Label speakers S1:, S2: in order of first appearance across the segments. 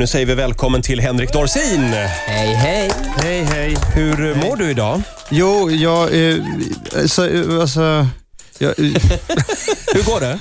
S1: Nu säger vi välkommen till Henrik Dorsin.
S2: Hej, hej.
S3: Hej, hej.
S1: Hur mår du idag?
S3: Jo, jag... Eh, alltså, eh, alltså, jag, eh,
S1: Hur går det?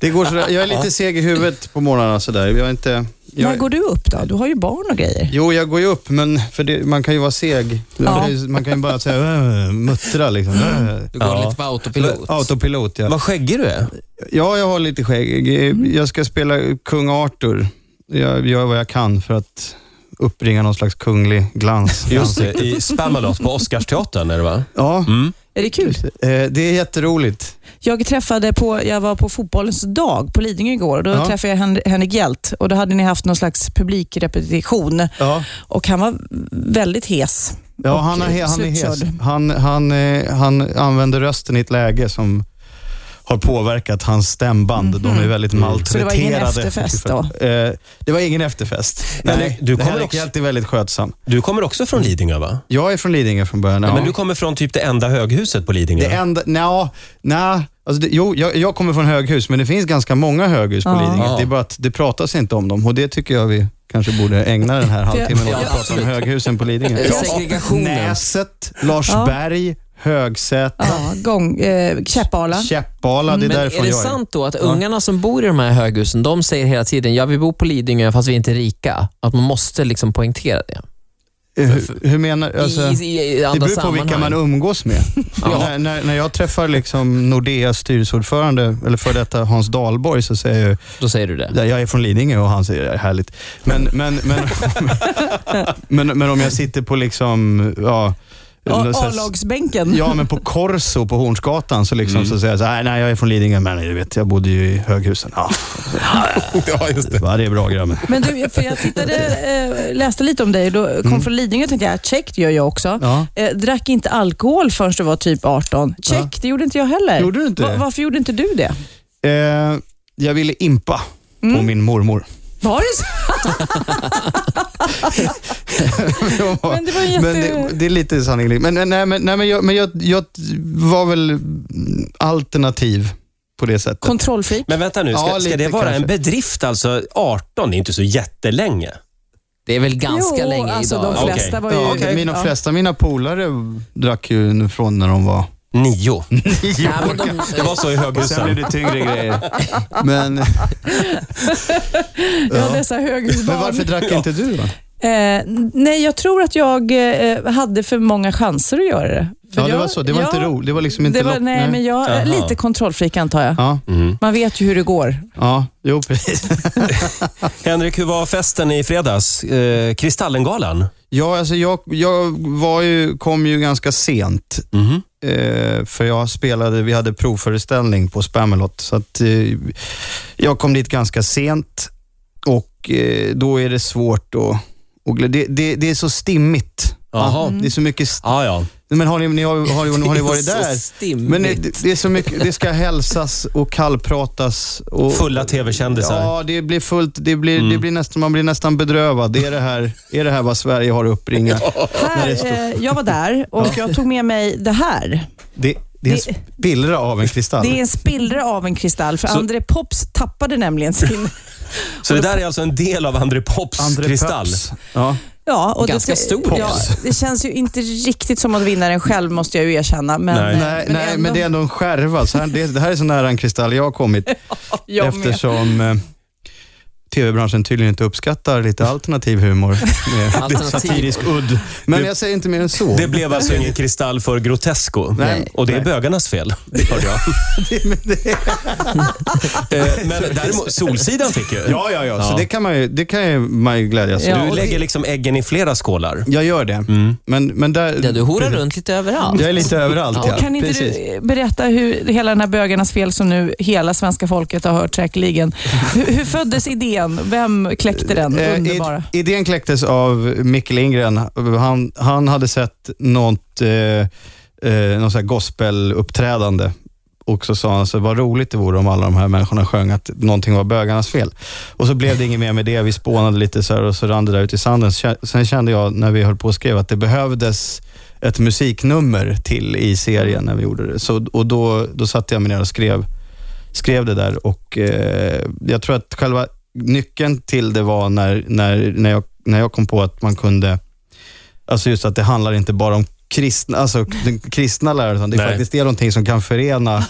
S3: det går sådär. Jag är lite seg i huvudet på morgnarna sådär. Jag är inte...
S4: När
S3: Jag,
S4: går du upp då? Du har ju barn och grejer.
S3: jo, jag går ju upp, men för det, man kan ju vara seg. Man kan ju- Man kan ju bara säga äh, muttra liksom. Äh,
S2: Du går
S1: Ja.
S2: lite på autopilot.
S3: Autopilot, ja.
S1: Vad skäggig du är.
S3: Ja, jag har lite skägg. Jag ska spela kung Arthur. Jag gör vad jag kan för att uppringa någon slags kunglig glans.
S1: Just det, i Spamalot på Oscarsteatern är det va?
S3: Ja,
S4: Är det kul?
S3: eh, det är jätteroligt.
S4: Jag träffade på, jag var på fotbollens dag på Lidingö igår och då
S3: Ja.
S4: träffade jag Hen- Henrik Hjelt och då hade ni haft någon slags publikrepetition
S3: Ja.
S4: och han var väldigt hes.
S3: Ja,
S4: och
S3: han, är, he- han är hes.
S4: slutkörd.
S3: Han, han, eh, han använder rösten i ett läge som har påverkat hans stämband. De är väldigt malträterade.
S4: Så det var ingen efterfest då?
S3: Eh, Det var ingen efterfest.
S1: Men
S3: Nej,
S1: du
S3: du
S1: kommer
S3: kommer
S1: också-
S3: är väldigt skötsam.
S1: Du kommer också från Lidingö va?
S3: Jag är från Lidingö från början. Ja.
S1: Men du kommer från typ det enda höghuset på Lidingö?
S3: Det enda, nja, nja, alltså det, jo, jag, jag kommer från höghus, men det finns ganska många höghus på
S4: Ja.
S3: Lidingö. Det är bara att det pratas inte om dem och det tycker jag vi kanske borde ägna den här halvtimmen åt
S2: Ja,
S3: att prata om höghusen på Lidingö.
S2: Ja. Segregationen.
S3: Näset, Larsberg, Högsätra,
S4: Ja, gång, eh, Käppala.
S3: Käppala. Det är
S2: Men
S3: därifrån
S2: är det
S3: jag
S2: sant då att ungarna som bor i de här höghusen, de säger hela tiden ja vi bor på Lidingö fast vi är inte rika. Att man måste liksom poängtera det.
S3: är. Eh, Hur, hur menar du? Alltså,
S2: I, i, i
S3: det
S2: andra
S3: beror på vilka man
S2: sammanhang.
S3: umgås med.
S2: Ja.
S3: när, när, när jag träffar liksom Nordeas styrelseordförande, eller för detta Hans Dahlborg, så säger jag ju
S2: Då säger du det.
S3: Ja, jag är från Lidingö och han säger härligt. Men, men, men, men, men om jag sitter på liksom, ja,
S4: A-
S3: någon slags-
S4: A-lagsbänken.
S3: ja men på Corso på Hornsgatan så, liksom, så säger jag så här, nej jag är från Lidingö men du vet, jag bodde ju i höghusen. Ja,
S1: Ja, just det.
S3: det är bra grabben.
S4: Men du, för jag tittade, eh, läste lite om dig då kom från Lidingö och tänkte jag, check det gör jag också.
S3: Mm. Ja.
S4: Eh, drack inte alkohol förrän du var typ 18. Check, det gjorde inte jag heller.
S3: Gjorde du inte
S4: Va-
S3: det?
S4: varför gjorde inte du det? Mm.
S3: Eh, jag ville impa på min mormor.
S4: Var det så? Men det var ju jätte-
S3: men det, det är lite sanning. Men, men, nej, men, nej, men, jag, men jag, jag var väl mm, alternativ på det sättet.
S4: Kontrollfreak.
S1: Men vänta nu, ska,
S3: Ja,
S1: ska
S3: lite
S1: det vara en
S3: kanske.
S1: bedrift alltså? 18, det är inte så jättelänge.
S2: Det är väl ganska
S4: jo,
S2: länge
S4: alltså,
S2: idag.
S4: De
S1: Okej.
S4: flesta var ju...
S3: Ja, mina,
S4: ja.
S3: flesta av mina polare drack ju från när de var
S1: Nio.
S3: nio
S2: Nej, men de,
S1: Det var så i
S3: Sen blev
S1: höghusen.
S3: det tyngre grejer. Men,
S4: ja, dessa höghusbarn.
S3: men varför drack inte du då?
S4: Eh, n- nej, jag tror att jag eh, hade för många chanser att göra det. För
S3: Ja, det
S4: jag,
S3: var så. Det var
S4: ja,
S3: inte roligt. Det var liksom inte
S4: det var,
S3: lock-
S4: nej, men jag
S1: Jaha.
S4: Lite kontrollfreak antar jag.
S3: Ja,
S1: Mm.
S4: Man vet ju hur det går.
S3: ja, jo precis.
S1: Henrik, hur var festen i fredags? Eh, Kristallengalan?
S3: Ja, alltså jag, jag var ju, kom ju ganska sent.
S1: Mhm.
S3: Eh, för jag spelade, vi hade provföreställning på Spamalot. Så att, eh, jag kom dit ganska sent och eh, då är det svårt att... Och det, det, det är så stimmigt.
S1: Jaha.
S3: Det är så mycket st-
S1: Ah, ja.
S3: Men har ni, ni, har, har, ni- har ni
S2: Det är
S3: varit
S2: så
S3: där?
S2: stimmigt.
S3: Men det, det är så mycket, det ska hälsas och kallpratas. Och,
S1: Fulla tv-kändisar.
S3: Ja, det blir fullt. Det blir, det blir nästan, man blir nästan bedrövad. Det är det här, är det här vad Sverige har att uppringa?
S4: Här, eh, jag var där och jag tog med mig det här.
S3: Det, det är en spillra av en kristall.
S4: Det är en spillra av en kristall, för
S1: Så-
S4: André Pops tappade nämligen sin...
S1: Så det där är alltså en del av André Pops
S3: André
S1: kristall?
S3: Paps. Ja.
S4: Ja, och
S2: Ganska
S4: det,
S2: stor.
S4: Ja, det känns ju inte riktigt som att vinna den själv, måste jag ju erkänna. Men,
S1: Nej.
S4: eh,
S3: Nej, men, nej,
S4: ändå-
S3: men det är ändå en skärva. Så här, det, det här är så nära en kristall jag har kommit
S4: jag med.
S3: eftersom eh, tv-branschen tydligen inte uppskattar lite alternativ humor med
S2: Alternativ.
S3: satirisk udd. Men jag säger inte mer än så.
S1: Det blev alltså ingen kristall för Grotesco.
S3: Nej.
S1: Och det är
S3: Nej.
S1: bögarnas fel, hörde jag. Eh, Men däremot, Solsidan fick ju.
S3: Ja, ja, ja.
S1: Ja.
S3: Så det kan man ju, det kan ju, man ju glädjas åt.
S4: Ja,
S1: Du
S4: och
S1: lägger liksom äggen i flera skålar.
S3: Jag gör det. Men, men där...
S2: Ja, du horar runt lite överallt.
S3: Jag är lite överallt, ja.
S4: Och kan inte
S3: Precis.
S4: du berätta hur hela den här bögarnas fel som nu hela svenska folket har hört säkerligen. Hur, hur föddes idén? Vem kläckte den?
S3: Eh,
S4: Underbara.
S3: id- idén kläcktes av Micke Lindgren. Han, han hade sett något, eh, eh, något så här gospeluppträdande och så sa han, så vad roligt det vore om alla de här människorna sjöng att någonting var bögarnas fel. Och så blev det inget mer med det. Vi spånade lite så här och så rann det där ut i sanden. Kä- Sen kände jag när vi höll på och skrev att det behövdes ett musiknummer till i serien när vi gjorde det. Så, och då, då satte jag mig ner och skrev skrev det där och eh, jag tror att själva nyckeln till det var när, när, när, jag, när jag kom på att man kunde, alltså just att det handlar inte bara om kristna, alltså den kristna läraren, utan det
S1: Nej.
S3: faktiskt är någonting som kan förena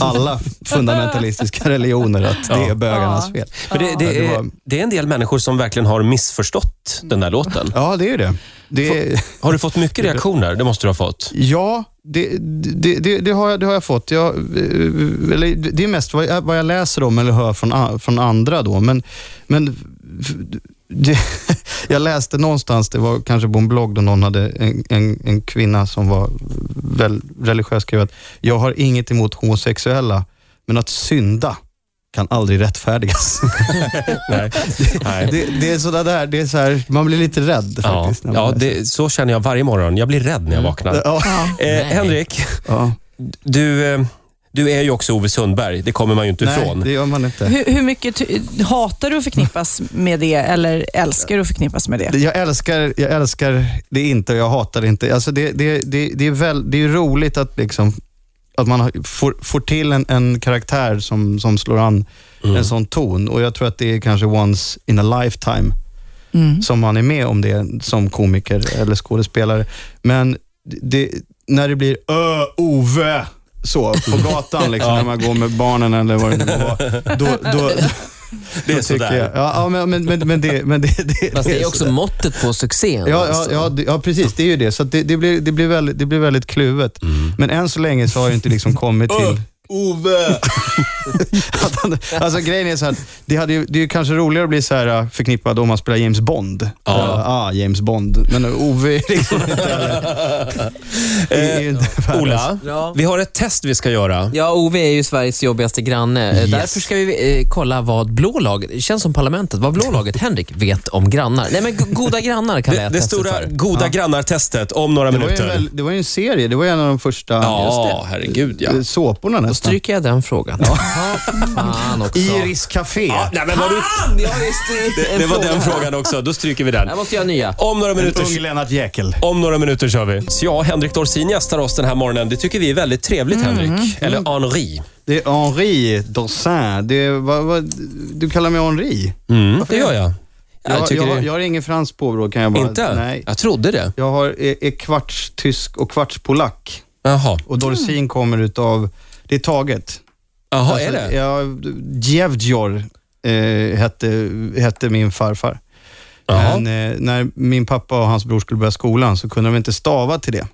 S3: alla fundamentalistiska religioner, att det
S1: Ja.
S3: är bögarnas fel.
S1: Men det,
S3: Ja,
S1: det,
S3: det
S1: är,
S3: var-
S1: det är en del människor som verkligen har missförstått den där låten.
S3: Ja, det är ju det. det
S1: Har du fått mycket reaktioner? Det måste du ha fått.
S3: Ja, det, det, det, det, har jag, det har jag fått. Jag, eh, eller, det är mest vad jag, vad jag läser om eller hör från, a- från andra. Då. Men, men det, jag läste någonstans, det var kanske på en blogg, då någon hade en, en, en kvinna som var väl religiös skrev att jag har inget emot homosexuella, men att synda kan aldrig rättfärdigas.
S1: Nej. Nej.
S3: Det, det är sådär där, det är så här, man blir lite rädd
S1: Ja,
S3: faktiskt. när man
S1: ja
S3: läser.
S1: det, så känner jag varje morgon. Jag blir rädd när jag vaknar.
S3: ja,
S4: Ja.
S1: Eh, Henrik,
S3: ja.
S1: du, eh, du är ju också Ove Sundberg. Det kommer man ju inte
S3: Nej,
S1: ifrån.
S3: det gör man inte.
S4: Hur, hur mycket ty- hatar du att förknippas med det eller älskar du att förknippas med det?
S3: Det- Jag älskar, jag älskar det inte och jag hatar det inte. Alltså det, det, det, det, är, väl, det är roligt att, liksom, att man har- får, får till en, en karaktär som, som slår an
S2: Mm.
S3: en sån ton. Och Jag tror att det är kanske once in a lifetime
S4: Mm.
S3: som man är med om det som komiker eller skådespelare. Men det, när det blir ö, Ove, så på gatan liksom, när man går med barnen eller vad det nu må vara. Då, då,
S1: Det är
S3: då tycker
S1: sådär.
S3: jag, ja, ja, men, men, men, men det... Men det, det
S2: Fast det är
S3: sådär.
S2: också måttet på succén.
S3: Ja, ja,
S2: alltså.
S3: ja, det- ja, precis. Det är ju det. Så att det, det, blir, det, blir väldigt, det blir väldigt kluvet. Men än så länge så har det inte liksom kommit till...
S1: Ove!
S3: Att han, alltså grejen är så här, det, hade ju, det är ju kanske roligare att bli så här äh, förknippad om man spelar James Bond.
S1: Ja.
S3: Äh, ah, James Bond. Men Ove är liksom inte... det är ju inte
S1: Eh, Ola,
S2: Ja.
S1: vi har ett test vi ska göra.
S2: Ja, Ove är ju Sveriges jobbigaste granne. Eh,
S3: Yes.
S2: Därför ska vi eh, kolla vad blå laget, det känns som parlamentet, vad blå laget Henrik vet om grannar. Nej men go- goda grannar kallar
S1: Det,
S2: jag
S1: det
S2: testet
S1: stora
S2: för.
S1: goda grannar-testet om några
S3: Det var, ju en
S1: minuter.
S3: väl, det var ju en serie. Det var ju en av de första
S1: Ja, herregud ja.
S3: eh, såporna
S2: Då
S3: nästan.
S2: stryker jag den frågan. Ja. Fan också.
S3: Iris Café.
S1: ja nej, men var du...
S2: Fan, jag visste
S1: Det,
S2: en
S1: det var
S2: fråga
S1: den
S2: här.
S1: frågan också. Då stryker vi den.
S2: Jag måste göra nya.
S1: Om några minuter
S3: Ung Lennart Jäkel.
S1: Om några minuter kör vi. Så ja, Henrik Dorsin gästar oss den här morgonen. Det tycker vi är väldigt trevligt,
S3: Mm.
S1: Henrik. Eller Henri.
S3: Det är Henri Dorsin. Det är, vad, vad, du kallar mig Henri?
S1: Mm, det gör jag. Jag,
S3: Jag,
S1: tycker
S3: jag,
S1: det.
S3: jag har ingen fransk påbrå kan jag bara...
S1: Inte?
S3: Nej.
S1: Jag trodde det.
S3: Jag har, är, är kvarts tysk och kvarts polack.
S1: Jaha,
S3: Och dorsin kommer utav... Det är taget.
S1: Jaha Mm. är
S3: Alltså,
S1: det?
S3: Ja, Jevdjor eh, hette, hette min farfar.
S1: Jaha.
S3: Men eh, när min pappa och hans bror skulle börja skolan så kunde de inte stava till det.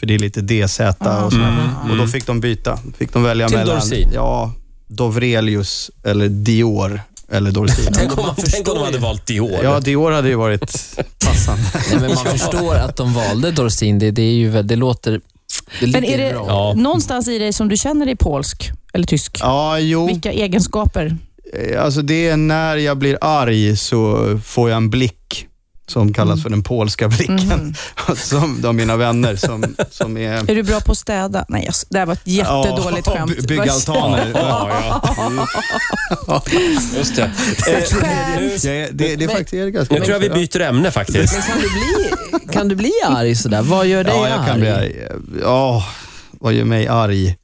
S3: För det är lite DZ och sådär. Och då fick de byta. fick de välja
S1: Ah. Mm. Till
S3: mellan...
S1: dorsin?
S3: Ja, Dovrelius eller Dior eller dorsin.
S1: Tänk om, tänk om de hade valt Dior.
S3: Ja, Dior hade ju varit passande.
S2: Nej, men man förstår att de valde Dorsin. Det, det, är ju, väl- det låter... Det
S4: Men
S2: ligger
S4: är det
S2: bra.
S1: Ja.
S4: någonstans i dig som du känner dig polsk eller tysk?
S3: Ja, jo.
S4: Vilka egenskaper?
S3: Eh, Alltså det är när jag blir arg så får jag en blick som kallas för den polska blicken. som av mina vänner som, som är...
S4: Är du bra på att städa? Nej, jag- det här var ett jättedåligt
S3: Ja,
S4: skämt.
S3: by- Bygga altaner.
S1: Ja, ja. Just det. Eh, nu,
S3: Ja, det, det, det är faktiskt är det ganska
S1: nu tror jag vi byter ämne faktiskt.
S2: Men kan du, bli, kan du bli arg sådär? Vad gör dig
S3: Ja, jag
S2: arg?
S3: kan bli arg. Ja, vad gör mig arg?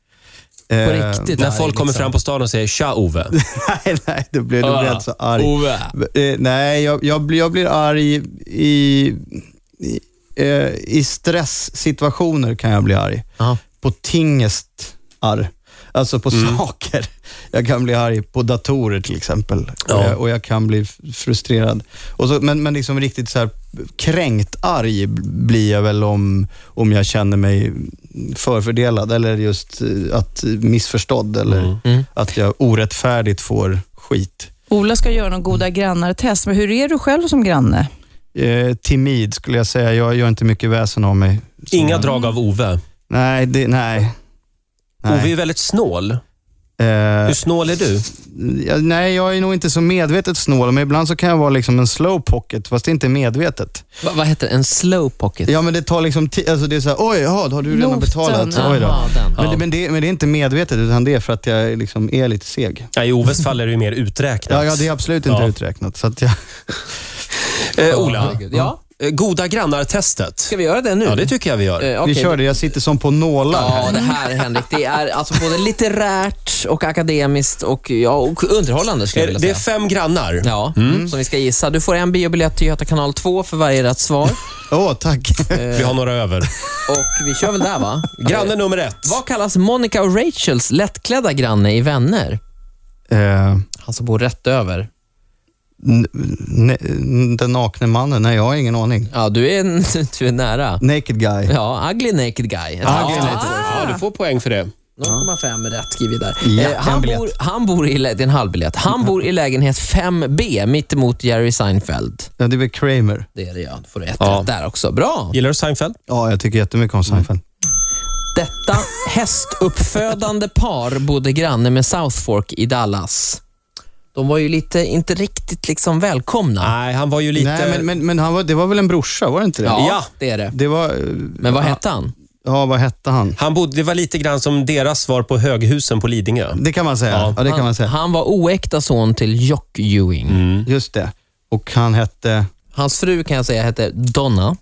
S3: Eh,
S2: På riktigt?
S1: När
S2: arg, liksom.
S1: folk kommer fram på stan och säger “Tja Ove”.
S3: Nej, nej, då liksom. blir jag
S2: Ah,
S3: rätt så arg.
S2: Ove.
S3: Eh, nej, jag, jag, blir, jag blir arg i, i, eh, i stresssituationer kan jag bli arg.
S2: Ja.
S3: På tingestar, alltså på saker. Jag kan bli arg på datorer till exempel och,
S1: Ja.
S3: jag, och jag kan bli f- frustrerad. Och så, men, men liksom riktigt så här kränkt arg blir jag väl om, om jag känner mig förfördelad eller just eh, att missförstådd eller att jag orättfärdigt får skit.
S4: Ola ska göra någon goda grannar-test, men hur är du själv som granne?
S3: Eh, timid skulle jag säga. Jag gör inte mycket väsen av mig. Så-
S1: Inga drag av Ove.
S3: Nej, det, nej.
S1: Ove
S3: Nej.
S1: är väldigt snål.
S3: Eh,
S1: Hur snål är du?
S3: ja, nej, jag är nog inte så medvetet snål, men ibland så kan jag vara liksom en slow pocket, fast det inte är medvetet.
S2: Va, vad heter det? En slow pocket?
S3: Ja, men det tar liksom ti- alltså det är så här, oj, jaha, då har du redan
S4: Noten,
S3: betalat.
S4: ja.
S3: Oj då.
S2: Jaha, den.
S3: Men,
S1: Ja.
S3: det, men, det, men det är inte medvetet, utan det är för att jag liksom är lite seg.
S1: Ja, I Oves fall är det ju mer uträknat.
S3: Ja, ja, det är absolut inte
S1: Ja.
S3: uträknat. Så att jag,
S1: Eh, Ola,
S2: Herregud. Ja?
S1: eh, goda grannar-testet.
S2: Ska vi göra det nu?
S1: Ja, det tycker jag vi gör.
S2: Eh,
S3: Vi
S2: okej.
S3: kör det, jag sitter som på nålar
S2: Ja,
S3: här.
S2: det här Henrik, det är alltså både litterärt och akademiskt och, ja, och underhållande skulle jag
S1: Är-
S2: vilja
S1: Det är
S2: säga.
S1: fem grannar.
S2: Ja,
S3: Mm.
S2: som vi ska gissa. Du får en biobiljett till Göta kanal 2 för varje rätt svar.
S3: Åh, tack.
S1: Vi har några över.
S2: Och vi kör väl där va?
S1: Granne nummer ett.
S2: Vad kallas Monica och Rachels lättklädda granne i Vänner?
S3: Eh,
S2: Han som bor rätt över.
S3: n- n- den nakne mannen, nej jag har ingen aning.
S2: Ja, du är, du är nära.
S3: Naked guy.
S2: Ja, Ugly Naked Guy. Ett
S3: Ah,
S2: halvt
S3: Ugly
S2: rätt
S3: Naked
S2: svar.
S1: Ja, du får poäng för det.
S2: 0,5 rätt skriver där.
S3: Ja,
S2: eh, han,
S3: en biljett.
S2: bor, han bor i, lä- det är en halvbiljett. Han bor i lägenhet 5B mitt emot Jerry Seinfeld.
S3: Ja, det är väl Kramer.
S2: Det är det ja. Då får du ett
S1: Ja.
S2: rätt där också. Bra!
S1: Gillar du Seinfeld?
S3: Ja, jag tycker jättemycket om Seinfeld.
S2: Detta hästuppfödande par bodde granne med South Fork i Dallas. De var ju lite, inte riktigt liksom välkomna.
S1: Nej, han var ju lite...
S3: Nej, men, men, men han var, det var väl en brorsa, var det inte det?
S1: Ja.
S2: det är det.
S3: Det var... eh,
S2: Men vad hette han?
S3: Ja, vad hette han?
S1: Han bodde, det var lite grann som deras svar på höghusen på Lidingö.
S3: Det kan man säga.
S1: Ja.
S3: Ja, det kan
S2: han,
S3: man säga. Mm.
S2: han var oäkta son till Jock Ewing.
S3: Just det. Och han hette...
S2: Hans fru kan jag säga hette Donna.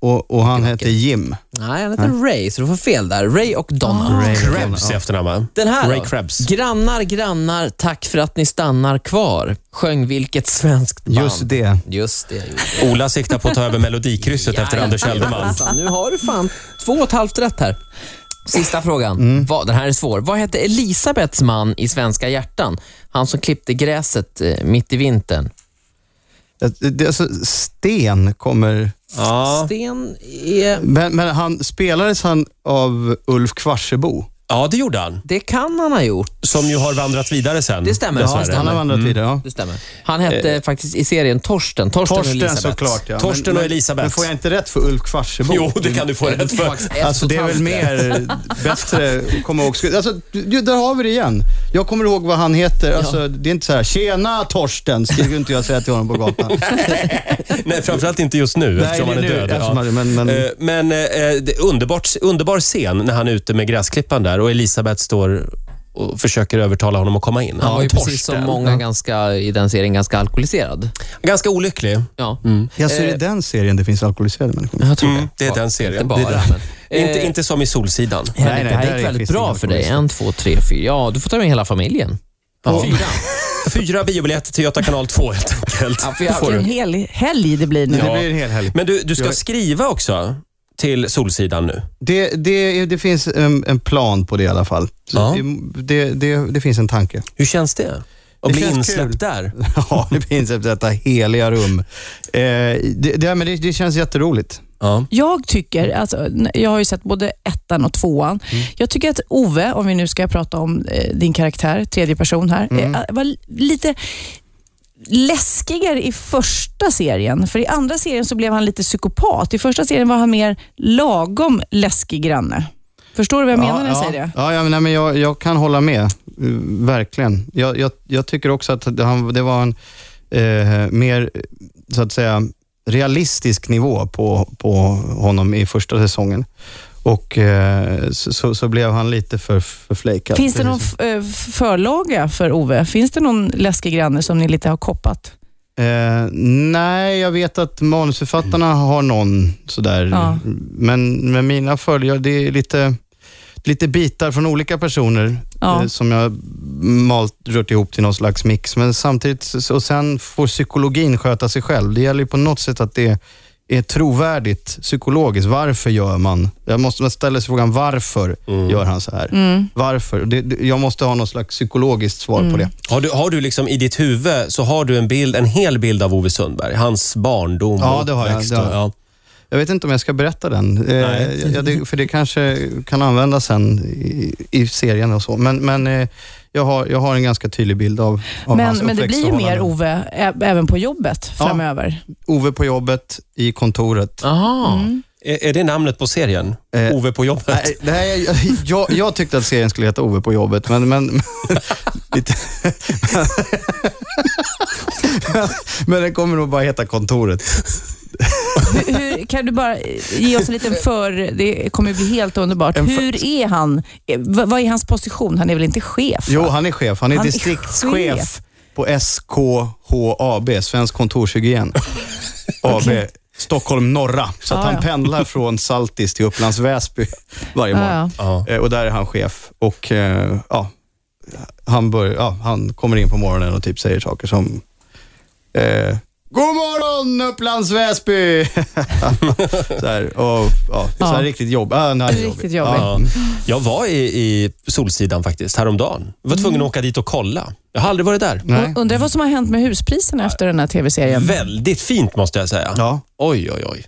S3: Och, och han hette Jim.
S2: Nej, han hette Ray, så du får fel där. Ray och Donna.
S3: Ah.
S1: Krebs i efternamn, va?
S2: Den här
S1: Ray
S2: då?
S1: Krebs.
S2: Grannar, grannar, tack för att ni stannar kvar. Sjöng vilket svenskt band?
S3: Just det.
S2: Just det. just det.
S1: Ola siktar på att ta över Melodikrysset efter
S2: Ja,
S1: Anders
S2: ja,
S1: Eldeman.
S2: alltså, Nu har du fan två och ett halvt rätt här. Sista frågan.
S1: Mm.
S2: Vad, den här är svår. Vad hette Elisabeths man i Svenska hjärtan? Han som klippte gräset eh, mitt i vintern.
S3: Det, det, alltså, Sten kommer...
S1: Ja.
S2: Sten är...
S3: Men, men han spelades han av Ulf Kvarsebo?
S1: ja, det gjorde han.
S2: Det kan han ha gjort.
S1: Som ju har vandrat vidare sen.
S2: Det stämmer.
S1: dessvärre.
S2: Ja, det
S3: Han har vandrat vidare, ja.
S2: Det stämmer. Han hette
S1: Eh.
S2: faktiskt i serien Torsten. Torsten, och
S3: Torsten
S2: Elisabeth.
S3: såklart, ja.
S1: Torsten
S3: Men-
S1: och
S3: men-
S1: Elisabeth.
S3: Men får jag inte rätt för Ulf Kvarsebo?
S1: Jo, det kan du få rätt för.
S2: Eh, Faktiskt ett
S3: Alltså
S2: och
S3: det
S2: ett
S3: är väl
S2: halvt rätt.
S3: mer bättre att komma ihåg. Alltså, ju, där har vi det igen. Jag kommer ihåg vad han heter. Alltså, Det är inte så här, tjena Torsten, skulle inte jag säga till honom på gatan.
S1: Nej, framförallt inte just nu eftersom
S3: det
S1: han är
S3: är nu,
S1: död.
S3: eftersom han- men- men-
S1: Eh, men, eh, det är underbart, underbar scen när han är ute med gräsklippan där och Elisabeth står och försöker övertala honom att komma in.
S2: Han var ju
S1: Torsten.
S2: precis som många ganska, i den serien ganska alkoholiserad.
S1: Ganska olycklig.
S2: Ja.
S3: Ja, så är det den serien det finns alkoholiserade människor?
S2: Jag tror
S1: Mm, det är
S2: Bara-
S1: den serien.
S2: Inte bara, Eh,
S1: Det är den.
S2: men.
S1: Inte, inte som i Solsidan.
S2: Henrik,
S3: Nej, nej,
S2: det här
S3: där
S2: gick väldigt
S3: finns
S2: bra
S3: inga
S2: för dig.
S3: alkoholister.
S2: En, två, tre, fyra. Ja, du får ta med hela familjen.
S1: Ja.
S2: Fyra.
S1: Fyra biobiljetter till Göta kanal 2 helt enkelt.
S2: Ja, för jag-
S1: Får du.
S4: Vilken
S3: Mm.
S4: hel helg det blir nu.
S3: Det blir en hel helg.
S1: Men du, du ska
S3: Jag-
S1: skriva också till Solsidan nu.
S3: Det, det, det finns en, en plan på det i alla fall. Så
S1: Ja.
S3: det, det, det, det finns en tanke.
S1: Hur känns det? Att
S3: Det
S1: bli
S3: känns
S1: insläppt
S3: kul.
S1: där?
S3: Ja, det finns ett detta heliga rum. Eh, det, det, men det, det känns jätteroligt.
S1: Ja.
S4: Jag tycker, alltså, n- jag har ju sett både ettan och tvåan.
S3: Mm.
S4: Jag tycker att Ove, om vi nu ska prata om eh, din karaktär, tredje person här,
S3: Mm.
S4: eh, var l- lite läskigare i första serien. För i andra serien så blev han lite psykopat. I första serien var han mer lagom läskig granne. Förstår du vad jag menar när jag
S3: ja,
S4: säger det?
S3: Ja, ja, men, nej, men jag, jag kan hålla med. Mm, Verkligen. Jag, jag, jag tycker också att det, han, det var en eh, mer, så att säga, realistisk nivå på, på honom i första säsongen. Och eh, så, så, så blev han lite för, för flakad.
S4: Finns det någon f- eh, f- förlaga för Ove? Finns det någon läskig granne som ni lite har koppat?
S3: Eh, nej, jag vet att manusförfattarna har någon sådär.
S4: Ja.
S3: Men med mina följare, det är lite, lite bitar från olika personer
S4: Ja.
S3: eh, som jag malt, rört ihop till någon slags mix. Men samtidigt, s- och sen får psykologin sköta sig själv. Det gäller ju på något sätt att det är trovärdigt psykologiskt. Varför gör man? Jag måste man ställer sig frågan, varför
S4: Mm.
S3: gör han så här? Varför? Det, det, jag måste ha någon slags psykologiskt svar
S4: Mm.
S3: på det.
S1: Har du, har du liksom i ditt huvud så har du en bild, en hel bild av Ove Sundberg. Hans barndom
S3: Ja,
S1: och
S3: det har jag,
S1: uppväxt
S3: det
S1: och-
S3: har jag. Jag vet inte om jag ska berätta den, Eh,
S1: Nej.
S3: ja, det, för det kanske kan användas sen i, i serien och så. Men, men eh, jag, har, jag har en ganska tydlig bild av, av
S4: Men,
S3: hans
S4: men det blir ju mer
S3: uppväxtförhållanden.
S4: Ove ä- även på jobbet
S3: Ja.
S4: framöver.
S3: Ove på jobbet, i kontoret.
S2: Aha.
S1: Är, är det namnet på serien?
S3: Eh,
S1: Ove på jobbet?
S3: Nej, nej, jag, jag, jag tyckte att serien skulle heta Ove på jobbet, men... men lite, men den kommer nog bara heta kontoret.
S4: Hur, hur, kan du bara ge oss en liten för... Det kommer ju bli helt underbart.
S3: En för-
S4: Hur är han? Eh, vad- Vad är hans position? Han är väl inte chef?
S3: Jo,
S4: va?
S3: han är chef. Han är
S4: Han är
S3: distriktschef
S4: chef.
S3: på SKHAB, Svensk kontorshygien. AB. Stockholm norra. Så att
S4: Ja,
S3: han
S4: ja.
S3: pendlar från Saltis till Upplands Väsby varje morgon.
S4: Ja,
S1: Ja.
S3: Eh, Och där är han chef och eh, ja, han, bör, ja, han kommer in på morgonen och typ säger saker som eh, God morgon Upplands Väsby! så här, och, ja, så här
S4: Ja.
S3: riktigt jobb. Ja, nej, det är
S4: Riktigt
S3: jobbigt.
S4: jobbigt.
S3: Ja.
S1: Ja. Jag var i, i Solsidan faktiskt häromdagen. Jag var tvungen
S3: Mm.
S1: att åka dit och kolla. Jag har aldrig varit där.
S3: Nej.
S4: Undrar vad som har hänt med huspriserna efter den här tv-serien.
S1: Väldigt fint måste jag säga.
S3: Mm. Ja,
S1: Oj, oj, oj.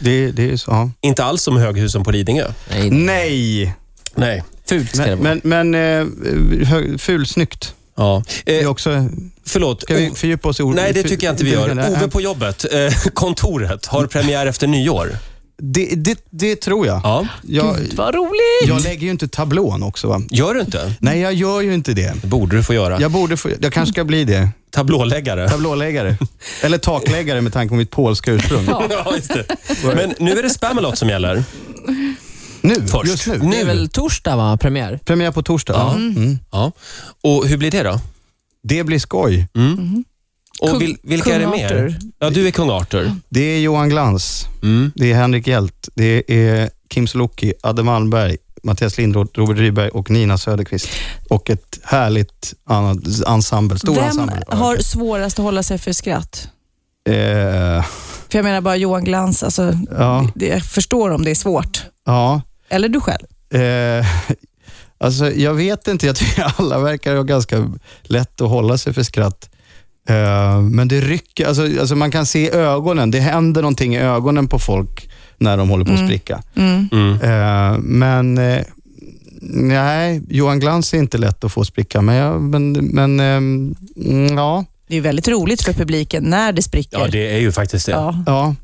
S3: det, det är ju så. Ja.
S1: Inte alls som höghusen på Lidingö.
S2: Nej,
S3: Nej,
S1: Nej.
S2: fult ska det
S3: Mm. men,
S2: vara.
S3: men, men eh, hö- fulsnyggt.
S1: Ja.
S3: Det är
S1: Eh,
S3: också,
S1: förlåt.
S3: ska vi
S1: Ov-
S3: fördjupa oss i ord?
S1: Eh, oh. Nej, det tycker jag inte vi gör. Ove
S3: Nej.
S1: på jobbet, eh, kontoret, har premiär efter nyår.
S3: Det, det, det tror jag.
S1: Ja.
S3: Jag,
S4: Gud, vad roligt!
S3: jag lägger ju inte tablån också. Va?
S1: Gör du inte?
S3: Nej, jag gör ju inte det.
S1: Det borde du få göra.
S3: Jag, borde få, jag kanske ska bli det.
S1: Tablåläggare.
S3: Tablåläggare. Eller takläggare med tanke på mitt polska ursprung.
S1: Ja, just det. Men nu är det Spamalot som gäller.
S3: Nu,
S1: Först.
S3: just nu.
S2: Det är väl torsdag, va? Premiär?
S3: Premiär på torsdag.
S1: Ja.
S3: Mm.
S1: Ja. Och hur blir det då? Mm.
S3: Det blir skoj.
S1: Och
S4: Kung-
S1: vil, vilka är det
S4: Kung
S1: mer?
S4: Arthur.
S1: Ja, du är kung Arthur.
S3: Det är Johan Glans,
S1: Mm.
S3: det är Henrik Hjelt, det är Kim Sulocki, Adde Malmberg, Mattias Lindroth, Robert Ryberg och Nina Söderqvist. Och ett härligt annat ensemble, stor
S4: Vem
S3: ensemble.
S4: har svårast att hålla sig för skratt?
S3: Eh,
S4: För jag menar bara Johan Glans, alltså,
S3: ja,
S4: det, jag förstår om det är svårt.
S3: ja.
S4: Eller du själv.
S3: Eh, alltså, jag vet inte, jag tycker alla verkar ha ganska lätt att hålla sig för skratt. Eh, men det rycker, alltså, alltså man kan se i ögonen, det händer någonting i ögonen på folk när de håller på att spricka.
S4: Mm.
S1: Mm.
S3: Eh, men eh, nej, Johan Glans är inte lätt att få spricka, men, jag, men, men eh, mm, ja,
S4: Det är väldigt roligt för publiken när det spricker.
S1: Ja, det är ju faktiskt det.
S4: Ja.
S3: ja.